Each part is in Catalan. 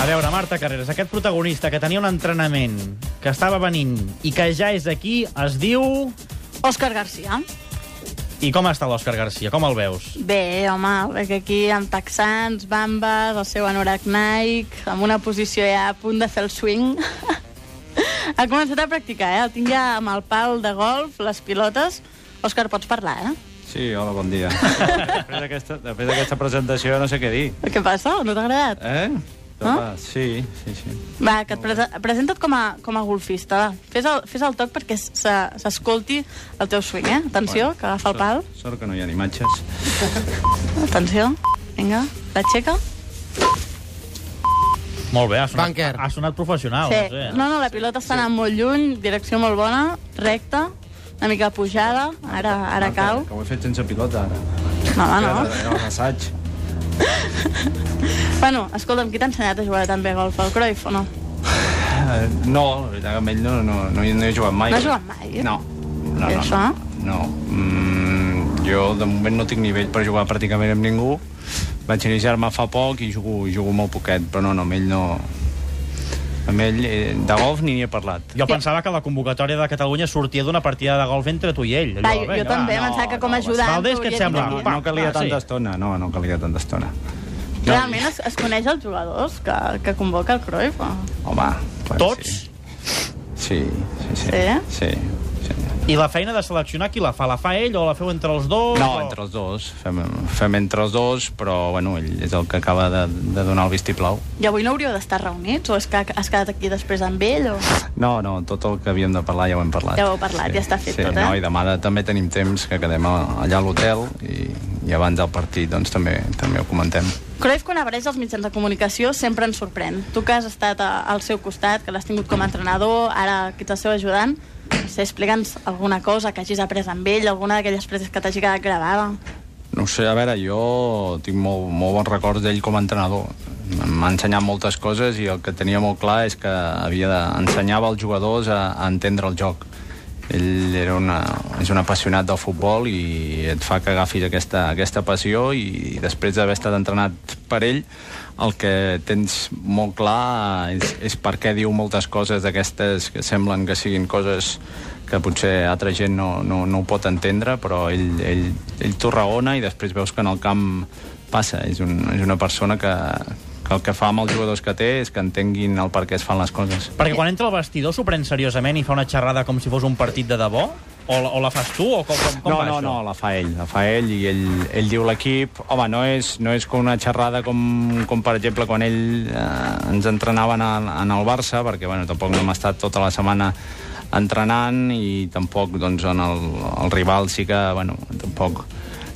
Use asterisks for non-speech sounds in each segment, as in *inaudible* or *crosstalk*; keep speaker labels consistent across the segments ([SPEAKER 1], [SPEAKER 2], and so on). [SPEAKER 1] A veure, Marta Carreras, aquest protagonista que tenia un entrenament, que estava venint i que ja és aquí, es diu...
[SPEAKER 2] Òscar Garcia.
[SPEAKER 1] I com està l'Òscar Garcia? Com el veus?
[SPEAKER 2] Bé, home, perquè aquí amb texans, bambes, el seu anorac Nike, amb una posició ja a punt de fer el swing. *laughs* ha començat a practicar, eh? El tinc ja amb el pal de golf, les pilotes. Òscar, pots parlar, eh?
[SPEAKER 3] Sí, hola, bon dia. després d'aquesta després d'aquesta presentació no sé què dir.
[SPEAKER 2] Què passa? No t'ha agradat?
[SPEAKER 3] Eh? Home, sí, sí, sí.
[SPEAKER 2] Va, que et prese presenta't com a, com a golfista, va. Fes el, fes el toc perquè se- s'escolti el teu swing, eh? Atenció, que agafa el pal.
[SPEAKER 3] Sort, sort que no hi ha ni imatges.
[SPEAKER 2] Atenció. Vinga, l'aixeca.
[SPEAKER 1] Molt bé, ha sonat,
[SPEAKER 4] Bànquer.
[SPEAKER 1] ha sonat professional.
[SPEAKER 2] Sí.
[SPEAKER 1] No sé.
[SPEAKER 2] No, no, la pilota està anant molt lluny, direcció molt bona, recta, una mica pujada, ara,
[SPEAKER 1] Ah,
[SPEAKER 2] ara cau.
[SPEAKER 3] Ah, Que ho he fet sense pilota, ara.
[SPEAKER 2] No, no, no.
[SPEAKER 1] eh?
[SPEAKER 3] Era un assaig.
[SPEAKER 2] Bueno, escolta'm, qui t'ha ensenyat a jugar tan bé a golf? El Cruyff o no?
[SPEAKER 3] Eh, no, la veritat que amb ell no, no, no, hi- no hi he jugat mai.
[SPEAKER 2] No has jugat mai, eh?
[SPEAKER 3] No. No,
[SPEAKER 2] I
[SPEAKER 3] no, no.
[SPEAKER 2] això?
[SPEAKER 3] no. Mm, jo, de moment, no tinc nivell per jugar pràcticament amb ningú. Vaig iniciar-me fa poc i jugo, i jugo molt poquet, però no, no, amb ell no... Amb ell, eh, de golf ni n'hi he parlat.
[SPEAKER 1] Jo pensava que la convocatòria de Catalunya sortia d'una partida de golf entre tu i ell.
[SPEAKER 2] Va, jo, jo
[SPEAKER 1] va,
[SPEAKER 2] també,
[SPEAKER 1] no.
[SPEAKER 2] pensava que com a
[SPEAKER 1] no,
[SPEAKER 2] ajudant...
[SPEAKER 1] Valdés, què et
[SPEAKER 2] t'hauria
[SPEAKER 1] sembla?
[SPEAKER 2] tingut.
[SPEAKER 1] Va.
[SPEAKER 3] No calia
[SPEAKER 1] Ah, sí.
[SPEAKER 3] tanta estona, no, no calia tanta estona. No.
[SPEAKER 2] Realment es, es coneix els jugadors que, que convoca el Cruyff? O...
[SPEAKER 3] Home, clar que
[SPEAKER 1] Tots?
[SPEAKER 3] Sí. Sí, sí, sí.
[SPEAKER 2] Sí?
[SPEAKER 3] Sí, sí.
[SPEAKER 1] I la feina de seleccionar qui la fa? La fa ell o la feu entre els dos?
[SPEAKER 3] No,
[SPEAKER 1] o...
[SPEAKER 3] entre els dos. Fem, fem entre els dos, però bueno, ell és el que acaba de, de donar el vistiplau.
[SPEAKER 2] I avui no hauríeu d'estar reunits? O és que has quedat aquí després amb ell? O...
[SPEAKER 3] No, no, tot el que havíem de parlar ja ho hem parlat.
[SPEAKER 2] Ja ho heu parlat, ja està fet
[SPEAKER 3] sí,
[SPEAKER 2] tot, eh?
[SPEAKER 3] No, I demà de, també tenim temps que quedem a- allà a l'hotel i, i abans del partit doncs, també, també ho comentem.
[SPEAKER 2] Cruyff, quan apareix als mitjans de comunicació, sempre ens sorprèn. Tu que has estat a, al seu costat, que l'has tingut com a entrenador, ara que ets el seu ajudant, no sé, explica'ns alguna cosa que hagis après amb ell, alguna d'aquelles preses que t'hagi quedat gravada.
[SPEAKER 3] No ho sé, a veure, jo tinc molt, molt bons records d'ell com a entrenador. M'ha ensenyat moltes coses i el que tenia molt clar és que havia d'ensenyava els jugadors a, a entendre el joc. Ell era una, és un apassionat del futbol i et fa que agafis aquesta, aquesta passió i després d'haver estat entrenat per ell, el que tens molt clar és, és per què diu moltes coses d'aquestes que semblen que siguin coses que potser altra gent no, no, no ho pot entendre, però ell, ell, ell t'ho raona i després veus que en el camp passa. És, un, és una persona que, que el que fa amb els jugadors que té és que entenguin el per què es fan les coses.
[SPEAKER 1] Perquè quan entra al vestidor s'ho pren seriosament i fa una xerrada com si fos un partit de debò? O, la- o la fas tu? O com, com, com
[SPEAKER 3] no,
[SPEAKER 1] va
[SPEAKER 3] no,
[SPEAKER 1] això?
[SPEAKER 3] no, la fa ell, la fa ell i ell, ell diu l'equip. Home, no és, no és com una xerrada com, com per exemple, quan ell eh, ens entrenava en, el- en el Barça, perquè bueno, tampoc no hem estat tota la setmana entrenant i tampoc doncs, en el, el rival sí que, bueno, tampoc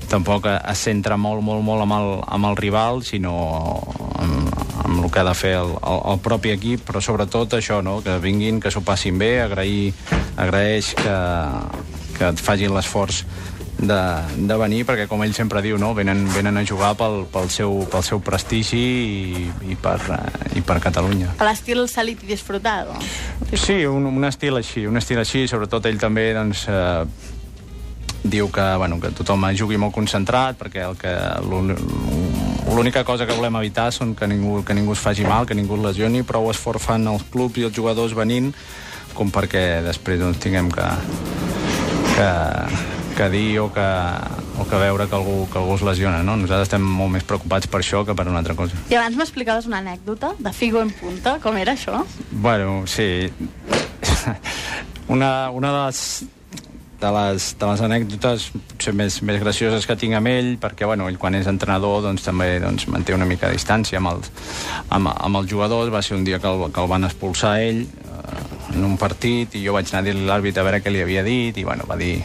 [SPEAKER 3] tampoc es centra molt, molt, molt amb el, amb el rival, sinó amb, amb el que ha de fer el, el, el propi equip, però sobretot això, no? que vinguin, que s'ho passin bé, agrair, agraeix que, que et facin l'esforç de, de venir, perquè com ell sempre diu, no? venen, venen a jugar pel, pel, seu, pel seu prestigi i, i, per, eh, i per Catalunya.
[SPEAKER 2] A l'estil salit i disfrutado.
[SPEAKER 3] Sí, un, un estil així, un estil així, sobretot ell també, doncs, eh, diu que, bueno, que tothom jugui molt concentrat, perquè el que l'un- l'única cosa que volem evitar són que ningú, que ningú es faci mal, que ningú es lesioni, prou esforç fan els clubs i els jugadors venint com perquè després doncs, tinguem que, que, que dir o que, o que veure que algú, que algú es lesiona. No? Nosaltres estem molt més preocupats per això que per una altra cosa.
[SPEAKER 2] I abans m'explicaves una anècdota de Figo en punta, com era això?
[SPEAKER 3] Bueno, sí. *laughs* Una, una de les de les, de les anècdotes potser més, més gracioses que tinc amb ell, perquè bueno, ell quan és entrenador doncs, també doncs, manté una mica de distància amb els, amb, amb els jugadors. Va ser un dia que el, que el van expulsar a ell eh, en un partit i jo vaig anar a dir-li a l'àrbitre a veure què li havia dit i bueno, va dir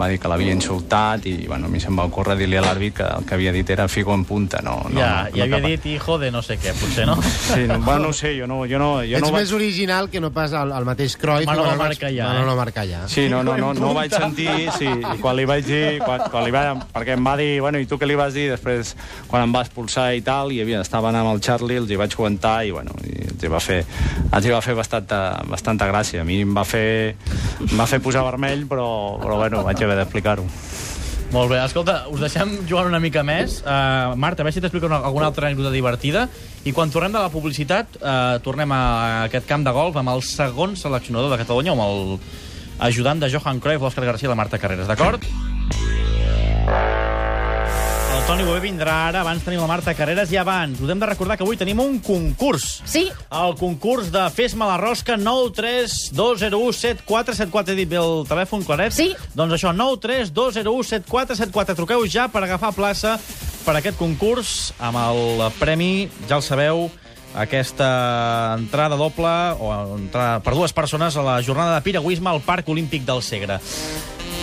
[SPEAKER 3] va dir que l'havia insultat i bueno, a mi se'm va ocórrer dir-li a l'àrbitre que el que havia dit era figo en punta. No, no,
[SPEAKER 1] ja,
[SPEAKER 3] no,
[SPEAKER 1] ja
[SPEAKER 3] no
[SPEAKER 1] havia
[SPEAKER 3] cap-
[SPEAKER 1] dit hijo de no sé què, potser,
[SPEAKER 3] *laughs*
[SPEAKER 1] no?
[SPEAKER 3] Sí, no, bueno, no ho sé, jo no, jo no, jo
[SPEAKER 4] Ets
[SPEAKER 3] no
[SPEAKER 4] no
[SPEAKER 3] vaig...
[SPEAKER 4] més original que no pas el, el mateix Cruyff.
[SPEAKER 1] Manolo
[SPEAKER 4] quan el vaig-
[SPEAKER 1] Marca ja, eh?
[SPEAKER 4] Manolo Marca ja.
[SPEAKER 3] Sí, no, no, no, no ho vaig sentir, sí, i quan li vaig dir, quan, quan li va, perquè em va dir, bueno, i tu què li vas dir? Després, quan em va expulsar i tal, i havia, estaven amb el Charlie, els hi vaig comentar, i bueno, i els hi va fer, els hi va fer bastanta, bastanta gràcia. A mi em va fer, em va fer posar vermell, però, però bueno, vaig haver d'explicar-ho.
[SPEAKER 1] Molt bé, escolta, us deixem jugant una mica més. Uh, Marta, a veure si t'explica una- alguna altra anècdota divertida. I quan tornem de la publicitat, uh, tornem a aquest camp de golf amb el segon seleccionador de Catalunya, amb el ajudant de Johan Cruyff, l'Òscar García i la Marta Carreras, d'acord? El Toni Bové vindrà ara, abans tenim la Marta Carreras i abans. Us hem de recordar que avui tenim un concurs.
[SPEAKER 5] Sí,
[SPEAKER 1] El concurs de Fes-me la rosca 932017474. He dit bé el telèfon, Claret?
[SPEAKER 5] Sí.
[SPEAKER 1] Doncs això, 932017474. Truqueu ja per agafar plaça per aquest concurs amb el premi, ja el sabeu, aquesta entrada doble o entrada per dues persones a la jornada de piragüisme al Parc Olímpic del Segre.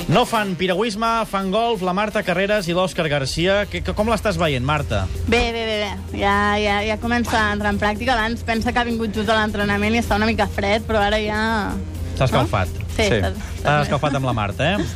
[SPEAKER 1] No fan piragüisme, fan golf, la Marta Carreras i l'Òscar Garcia. Que, que, com l'estàs veient, Marta?
[SPEAKER 2] Bé, bé, bé, bé. Ja, ja, ja comença a entrar en pràctica. Abans pensa que ha vingut just a l'entrenament i està una mica fred, però ara ja...
[SPEAKER 1] S'ha escalfat.
[SPEAKER 2] No?
[SPEAKER 1] No?
[SPEAKER 2] Sí,
[SPEAKER 3] Sí. Ah.
[SPEAKER 2] sí. Estàs,
[SPEAKER 1] T'has
[SPEAKER 2] estàs
[SPEAKER 1] escalfat amb la Marta, eh?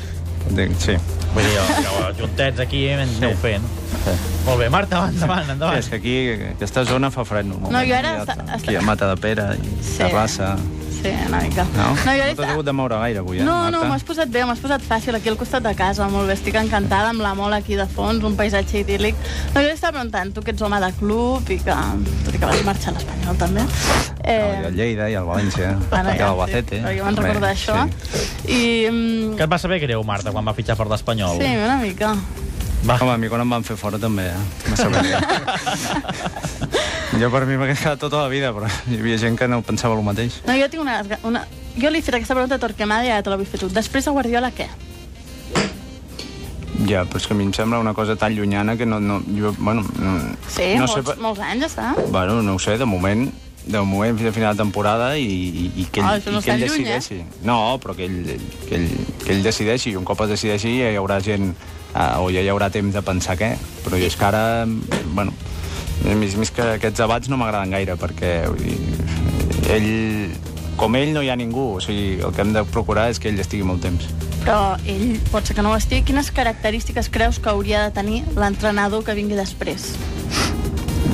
[SPEAKER 3] Dic, sí.
[SPEAKER 1] Vull dir, que juntets aquí eh, aneu fent.
[SPEAKER 3] Sí.
[SPEAKER 1] Molt bé, Marta, avant, endavant,
[SPEAKER 3] Sí,
[SPEAKER 1] endavant.
[SPEAKER 3] és que aquí, aquesta zona fa fred normalment.
[SPEAKER 2] No, jo ara
[SPEAKER 3] Ja,
[SPEAKER 2] esta-
[SPEAKER 3] Aquí a Mata de Pera i
[SPEAKER 2] Sí.
[SPEAKER 3] Terrassa.
[SPEAKER 2] sí, una mica. no,
[SPEAKER 3] No?
[SPEAKER 2] jo
[SPEAKER 3] no t'has hagut de moure gaire avui, eh,
[SPEAKER 2] No,
[SPEAKER 3] Marta?
[SPEAKER 2] no, m'ho has posat bé, m'ho has posat fàcil, aquí al costat de casa, molt bé, estic encantada amb la mola aquí de fons, un paisatge idíl·lic. No, jo estava preguntant, tu que ets home de club i que, tot i que vas marxar a l'Espanyol també...
[SPEAKER 3] No, I el Lleida, i el
[SPEAKER 2] *laughs*
[SPEAKER 3] València, i l'Albacete.
[SPEAKER 2] Eh, Sí, però jo me'n recordo
[SPEAKER 3] Bé,
[SPEAKER 2] d'això.
[SPEAKER 3] eh? Sí.
[SPEAKER 2] I... mm,
[SPEAKER 1] Que et va saber greu, Marta, quan va fitxar per l'Espanyol?
[SPEAKER 2] Sí, una mica.
[SPEAKER 1] Va.
[SPEAKER 3] Home, a mi quan em van fer fora també, eh?
[SPEAKER 2] *laughs*
[SPEAKER 3] Me sap greu. jo per mi m'ha quedat tota la vida, però hi havia gent que no pensava el mateix.
[SPEAKER 2] No, jo tinc una... una... Jo li he fet aquesta pregunta a Torquemada i ara te l'ho vull fer tu. Després de Guardiola, què?
[SPEAKER 3] Ja, però és que a mi em sembla una cosa tan llunyana que no... no jo, bueno, no,
[SPEAKER 2] Sí,
[SPEAKER 3] no
[SPEAKER 2] molts,
[SPEAKER 3] sé... per-
[SPEAKER 2] molts anys, ja està.
[SPEAKER 3] Bueno, no ho sé, de moment de moment fins a final de temporada i, i, i que ell,
[SPEAKER 2] Ah, això no
[SPEAKER 3] i que ell
[SPEAKER 2] està lluny, eh?
[SPEAKER 3] decideixi. No, però que ell, que, ell, que ell decideixi i un cop es decideixi ja hi haurà gent eh, o ja hi haurà temps de pensar què. Però jo és que ara, bueno, a mi- més que aquests debats no m'agraden gaire perquè vull dir, ell, com ell no hi ha ningú, o sigui, el que hem de procurar és que ell estigui molt temps.
[SPEAKER 2] Però ell pot ser que no ho estigui. Quines característiques creus que hauria de tenir l'entrenador que vingui després?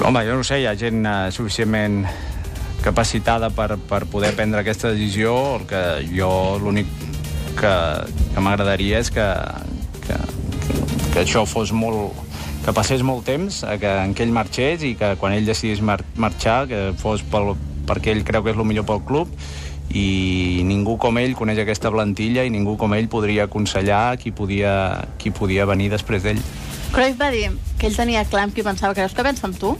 [SPEAKER 3] Home, jo no ho sé, hi ha gent eh, suficientment capacitada per, per poder prendre aquesta decisió, el que jo l'únic que, que m'agradaria és que, que, que això fos molt que passés molt temps a que, en què ell marxés i que quan ell decidís mar marxar que fos pel, perquè ell creu que és el millor pel club i ningú com ell coneix aquesta plantilla i ningú com ell podria aconsellar qui podia, qui podia venir després d'ell.
[SPEAKER 2] Cruyff va dir que ell tenia clar amb qui pensava. Creus que pensa amb tu?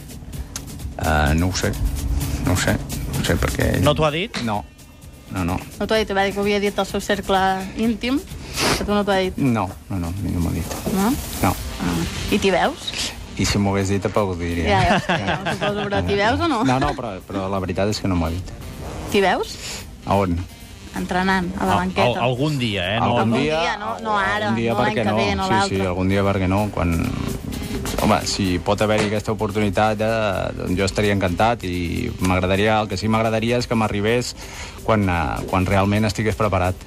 [SPEAKER 3] Uh, no ho sé, no ho sé, no ho sé perquè... Ell...
[SPEAKER 1] No t'ho ha dit?
[SPEAKER 3] No, no, no.
[SPEAKER 2] No t'ho ha dit, va dir que ho havia dit al seu cercle íntim, que tu no t'ho ha dit,
[SPEAKER 3] No, no, no, a mi no m'ho ha dit.
[SPEAKER 2] no?
[SPEAKER 3] No.
[SPEAKER 2] Ah. I t'hi veus?
[SPEAKER 3] I si m'ho hagués dit, tampoc ho diria.
[SPEAKER 2] Ja, ja, ho sé, ja, ho suposo, però t'hi veus o no?
[SPEAKER 3] No, no, però, però la veritat és que no m'ho ha dit.
[SPEAKER 2] T'hi veus?
[SPEAKER 3] A on?
[SPEAKER 2] Entrenant, a la
[SPEAKER 1] Al,
[SPEAKER 2] banqueta.
[SPEAKER 1] algun dia, eh? No?
[SPEAKER 2] Algun dia, no- no ara,
[SPEAKER 3] algun dia
[SPEAKER 2] no l'any
[SPEAKER 3] perquè
[SPEAKER 2] que ve, no
[SPEAKER 3] sí, sí,
[SPEAKER 2] l'altre.
[SPEAKER 3] algun dia perquè no, quan... Home, si pot haver-hi aquesta oportunitat, eh, doncs jo estaria encantat i m'agradaria, el que sí m'agradaria és que m'arribés quan, eh, quan realment estigués preparat.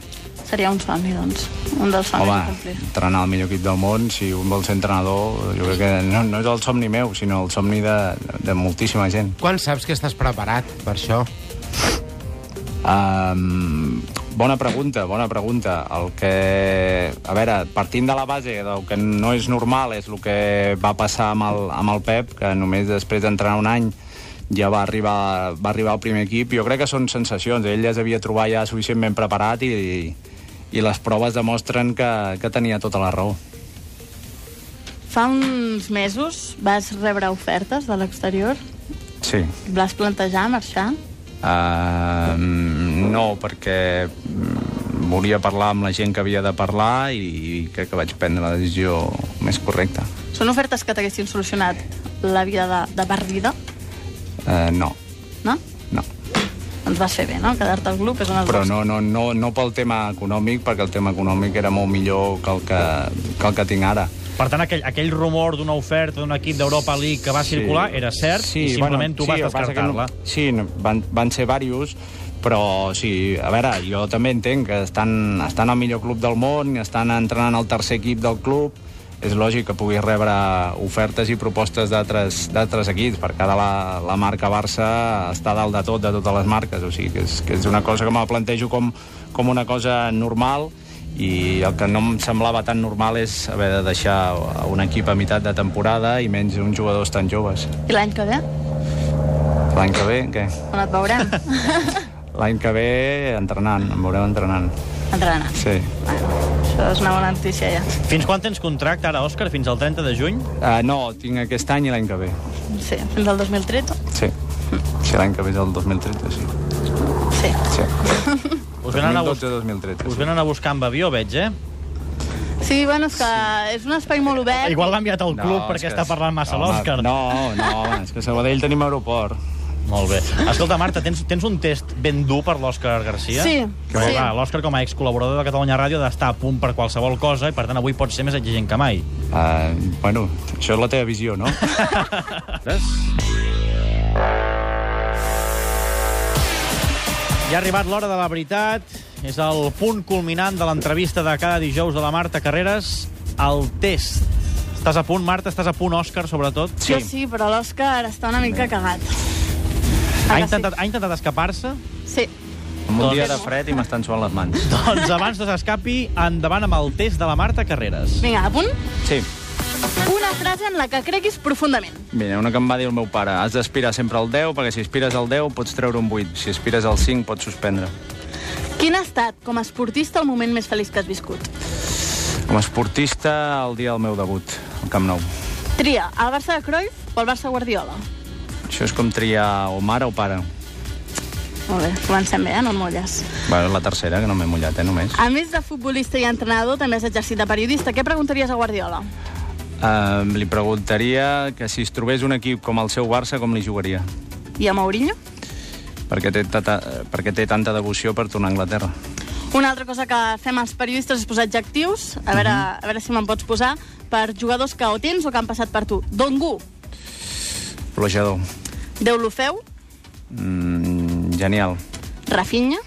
[SPEAKER 2] Seria un somni, doncs. Un dels somnis a
[SPEAKER 3] Home,
[SPEAKER 2] complir.
[SPEAKER 3] entrenar el millor equip del món, si un vol ser entrenador, jo crec que no, no és el somni meu, sinó el somni de, de moltíssima gent.
[SPEAKER 4] Quan saps que estàs preparat per això?
[SPEAKER 3] Um, bona pregunta, bona pregunta. El que... A veure, partint de la base del que no és normal és el que va passar amb el, amb el Pep, que només després d'entrenar un any ja va arribar, va arribar al primer equip. Jo crec que són sensacions. Ell ja s'havia trobat ja suficientment preparat i, i les proves demostren que, que tenia tota la raó.
[SPEAKER 2] Fa uns mesos vas rebre ofertes de l'exterior?
[SPEAKER 3] Sí,
[SPEAKER 2] Vas plantejar marxar?
[SPEAKER 3] Uh, no, perquè mm, volia parlar amb la gent que havia de parlar i crec que vaig prendre la decisió més correcta.
[SPEAKER 2] Són ofertes que t'haguessin solucionat la vida de, de perdida,
[SPEAKER 3] Uh, no,
[SPEAKER 2] no?
[SPEAKER 3] no.
[SPEAKER 2] Doncs vas fer bé, no? Quedar-te al club és una de
[SPEAKER 3] Però
[SPEAKER 2] les
[SPEAKER 3] no, no, no, no pel tema econòmic, perquè el tema econòmic era molt millor que el que, que, el que tinc ara.
[SPEAKER 1] Per tant, aquell, aquell rumor d'una oferta d'un equip d'Europa League que va circular era cert i simplement tu vas
[SPEAKER 3] el que passa que
[SPEAKER 1] descartar-la.
[SPEAKER 3] No, sí, no, van, van ser diversos, però sí, a veure, jo també entenc que estan, estan al millor club del món, estan entrenant al tercer equip del club, és lògic que puguis rebre ofertes i propostes d'altres d'altres equips, perquè ara la, la marca Barça està dalt de tot, de totes les marques, o sigui que és, que és una cosa que me la plantejo com, com una cosa normal i el que no em semblava tan normal és haver de deixar un equip a meitat de temporada i menys uns jugadors tan joves.
[SPEAKER 2] I l'any que ve?
[SPEAKER 3] L'any que ve, què?
[SPEAKER 2] On et veurem?
[SPEAKER 3] L'any que ve entrenant, em veureu entrenant.
[SPEAKER 2] Entrenant.
[SPEAKER 3] Sí.
[SPEAKER 2] Això és una bona notícia, ja.
[SPEAKER 1] Fins quan tens contracte ara, Òscar? Fins al 30 de juny?
[SPEAKER 3] Uh, no, tinc aquest any i l'any que ve.
[SPEAKER 2] Sí, fins al 2013.
[SPEAKER 3] Sí. Si l'any que ve és el 2013, sí.
[SPEAKER 2] Sí.
[SPEAKER 3] sí.
[SPEAKER 1] Us venen a, bus
[SPEAKER 3] 2013
[SPEAKER 1] us venen a buscar amb avió, veig, eh?
[SPEAKER 2] Sí, bueno, és que és un espai molt obert.
[SPEAKER 1] Igual l'ha enviat al club no, perquè està parlant massa l'Òscar.
[SPEAKER 3] No, no, home, és que a Sabadell tenim aeroport.
[SPEAKER 1] Molt bé. Escolta, Marta, tens, tens un test ben dur per l'Òscar Garcia?
[SPEAKER 2] Sí,
[SPEAKER 1] Però,
[SPEAKER 2] sí.
[SPEAKER 1] clar, L'Òscar, com a excol·laborador de Catalunya Ràdio, ha d'estar a punt per qualsevol cosa i, per tant, avui pot ser més exigent que mai.
[SPEAKER 3] Uh, bueno, això és la teva visió,
[SPEAKER 1] *laughs*
[SPEAKER 3] no?
[SPEAKER 1] Ja ha arribat l'hora de la veritat. És el punt culminant de l'entrevista de cada dijous de la Marta Carreras, el test. Estàs a punt, Marta? Estàs a punt, Òscar, sobretot?
[SPEAKER 2] Jo sí, però l'Òscar està una mica cagat.
[SPEAKER 1] Ha
[SPEAKER 2] Ara
[SPEAKER 1] intentat, ha intentat escapar-se?
[SPEAKER 2] Sí.
[SPEAKER 3] Amb un dia de fred i m'estan suant les mans.
[SPEAKER 1] Doncs abans que s'escapi, endavant amb el test de la Marta Carreras.
[SPEAKER 2] Vinga, a punt.
[SPEAKER 3] Sí.
[SPEAKER 2] Una frase en la que creguis profundament.
[SPEAKER 3] Mira, una que em va dir el meu pare, has d'aspirar sempre al 10, perquè si aspires al 10 pots treure un 8, si aspires al 5 pots suspendre.
[SPEAKER 2] Quin ha estat, com a esportista, el moment més feliç que has viscut?
[SPEAKER 3] Com a esportista, el dia del meu debut, al Camp Nou.
[SPEAKER 2] Tria, el Barça de Cruyff o el Barça Guardiola?
[SPEAKER 3] Això és com triar o mare o pare.
[SPEAKER 2] Molt bé, comencem bé, eh? no et mulles.
[SPEAKER 3] Bueno, la tercera, que no m'he mullat, eh, només.
[SPEAKER 2] A més de futbolista i entrenador, també has exercit de periodista. Què preguntaries a Guardiola?
[SPEAKER 3] Uh, li preguntaria que si es trobés un equip com el seu Barça, com li jugaria?
[SPEAKER 2] I a Mourinho?
[SPEAKER 3] Perquè té, tata, perquè té tanta devoció per tornar a Anglaterra.
[SPEAKER 2] Una altra cosa que fem els periodistes és posar adjectius. A veure, a veure si me'n pots posar per jugadors que o tens o que han passat per tu. Dongu,
[SPEAKER 3] Plojador.
[SPEAKER 2] Déu lo feu,
[SPEAKER 3] Mm, genial.
[SPEAKER 2] Rafinha,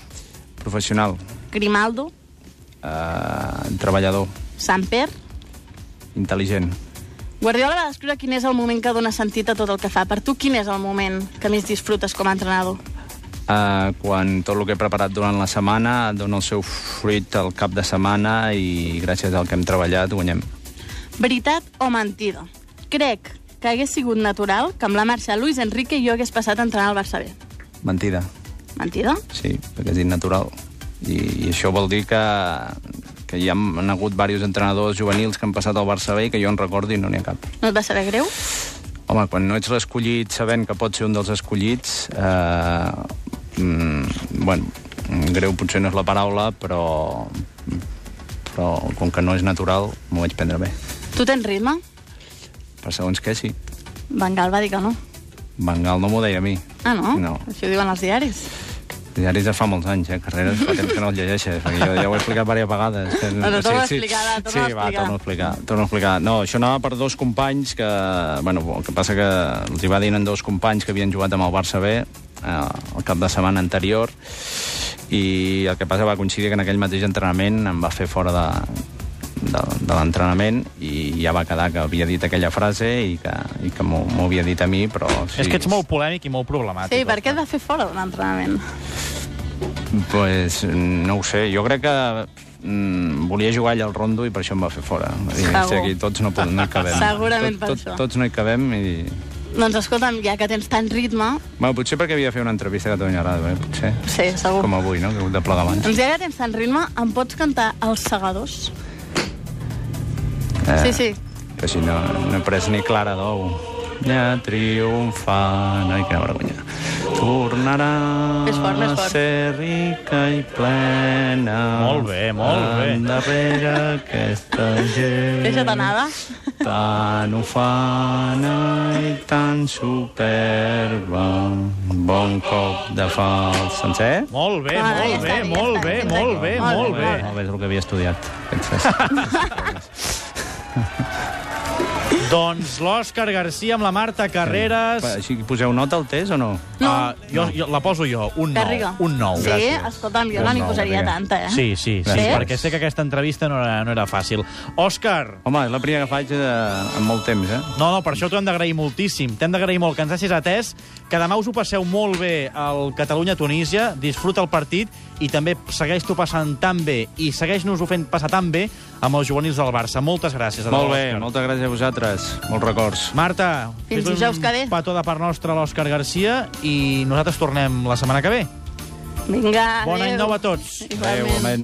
[SPEAKER 3] Professional.
[SPEAKER 2] Grimaldo,
[SPEAKER 3] Uh, treballador.
[SPEAKER 2] Samper...
[SPEAKER 3] Intel·ligent.
[SPEAKER 2] Guardiola va descriure quin és el moment que dona sentit a tot el que fa. Per tu, quin és el moment que més disfrutes com a entrenador?
[SPEAKER 3] Uh, quan tot el que he preparat durant la setmana dona el seu fruit al cap de setmana i gràcies al que hem treballat guanyem.
[SPEAKER 2] Veritat o mentida? Crec que hagués sigut natural que amb la marxa de Luis Enrique jo hagués passat a entrenar al Barça B.
[SPEAKER 3] Mentida.
[SPEAKER 2] Mentida?
[SPEAKER 3] Sí, perquè és innatural. I, i això vol dir que, que hi ha han hagut diversos entrenadors juvenils que han passat al Barça B i que jo en recordi no n'hi ha cap.
[SPEAKER 2] No et va saber greu?
[SPEAKER 3] Home, quan no ets l'escollit sabent que pots ser un dels escollits, eh, mm, bueno, mm, greu potser no és la paraula, però, però com que no és natural, m'ho vaig prendre bé.
[SPEAKER 2] Tu tens ritme?
[SPEAKER 3] Per segons què, sí.
[SPEAKER 2] Van Gaal va dir que no.
[SPEAKER 3] Bengal no m'ho deia a mi.
[SPEAKER 2] Ah, no?
[SPEAKER 3] No.
[SPEAKER 2] Això ho diuen els diaris.
[SPEAKER 3] Diaris de fa molts anys, eh? Carreres fa temps que no el llegeixes, perquè jo ja ho he explicat diverses vegades. Que...
[SPEAKER 2] Bueno, torna a explicar, va,
[SPEAKER 3] sí,
[SPEAKER 2] torna a
[SPEAKER 3] va,
[SPEAKER 2] explicar.
[SPEAKER 3] torna a explicar. Torna a explicar. No, això anava per dos companys que... Bueno, el que passa que els hi va dient en dos companys que havien jugat amb el Barça B eh, el cap de setmana anterior i el que passa va coincidir que en aquell mateix entrenament em va fer fora de, de, de l'entrenament i ja va quedar que havia dit aquella frase i que, i que m'ho m'ho havia dit a mi, però...
[SPEAKER 1] Sí. És que ets molt polèmic i molt
[SPEAKER 3] Ah,
[SPEAKER 1] problemàtic.
[SPEAKER 2] Sí, per què et va fer fora d'un entrenament?
[SPEAKER 3] Pues no ho sé, jo crec que mm, volia jugar allà al rondo i per això em va fer fora. Va dir,
[SPEAKER 2] Segur.
[SPEAKER 3] "Hòstia, aquí tots no, podem, no hi cabem.
[SPEAKER 2] *laughs* Segurament
[SPEAKER 3] tot,
[SPEAKER 2] per
[SPEAKER 3] tot,
[SPEAKER 2] això.
[SPEAKER 3] Tots no hi cabem i...
[SPEAKER 2] Doncs escolta'm, ja que tens tant ritme...
[SPEAKER 3] Bueno, potser perquè havia de fer una entrevista a Catalunya Ràdio, eh? potser.
[SPEAKER 2] Sí, segur.
[SPEAKER 3] Com avui, no? Que he hagut de plegar abans.
[SPEAKER 2] Doncs ja que tens tant ritme, em pots cantar Els Segadors?
[SPEAKER 3] Eh.
[SPEAKER 2] Sí, sí.
[SPEAKER 3] Que si no, no he pres ni clara d'ou. Ja triomfant... Ai, quina vergonya. Tornarà
[SPEAKER 2] Més fort, més
[SPEAKER 3] a
[SPEAKER 2] fort.
[SPEAKER 3] ser rica i plena.
[SPEAKER 1] Molt bé, molt bé.
[SPEAKER 3] Endarrere aquesta gent.
[SPEAKER 2] Deixa't anada.
[SPEAKER 3] Tan ufana i tan superba. Bon cop de fals. Sencer?
[SPEAKER 1] Molt bé,
[SPEAKER 2] Ah, ja
[SPEAKER 1] molt
[SPEAKER 2] està,
[SPEAKER 1] bé,
[SPEAKER 2] ja
[SPEAKER 1] molt
[SPEAKER 2] està,
[SPEAKER 1] bé,
[SPEAKER 2] ja està.
[SPEAKER 1] molt bé,
[SPEAKER 2] Molt
[SPEAKER 1] molt bé.
[SPEAKER 3] Molt bé, és el que havia estudiat. Aquestes.
[SPEAKER 1] Doncs l'Òscar Garcia amb la Marta Carreras...
[SPEAKER 3] Així poseu nota al test o no?
[SPEAKER 2] No.
[SPEAKER 1] Ah, jo, jo, la poso jo, un
[SPEAKER 2] Garriga.
[SPEAKER 1] 9. Un 9.
[SPEAKER 2] Sí, escolta'm, jo no n'hi
[SPEAKER 3] Nou,
[SPEAKER 2] posaria
[SPEAKER 3] Garriga.
[SPEAKER 2] tanta, eh?
[SPEAKER 1] Sí, sí, sí,
[SPEAKER 3] Gràcies.
[SPEAKER 1] perquè sé que aquesta entrevista no era, no era fàcil. Òscar,
[SPEAKER 3] Home, és la primera que faig eh, en molt temps, eh?
[SPEAKER 1] no, no, per això t'ho hem d'agrair moltíssim. T'hem d'agrair molt que ens hagis atès, que demà us ho passeu molt bé al Catalunya-Tunísia, disfruta el partit i també segueix-t'ho passant tan bé i segueix-nos-ho fent passar tan bé amb els juvenils del Barça. Moltes gràcies. de debò,
[SPEAKER 3] Molt bé,
[SPEAKER 1] Òscar.
[SPEAKER 3] moltes gràcies a vosaltres. Molts records.
[SPEAKER 1] Marta,
[SPEAKER 2] Fins
[SPEAKER 1] fes
[SPEAKER 2] dijous que ve.
[SPEAKER 1] un petó de part nostra a l'Òscar Garcia i nosaltres tornem la setmana que ve.
[SPEAKER 2] Vinga,
[SPEAKER 1] Bon any
[SPEAKER 2] adéu.
[SPEAKER 1] nou a tots.
[SPEAKER 2] Igualment.
[SPEAKER 3] Adéu, amén.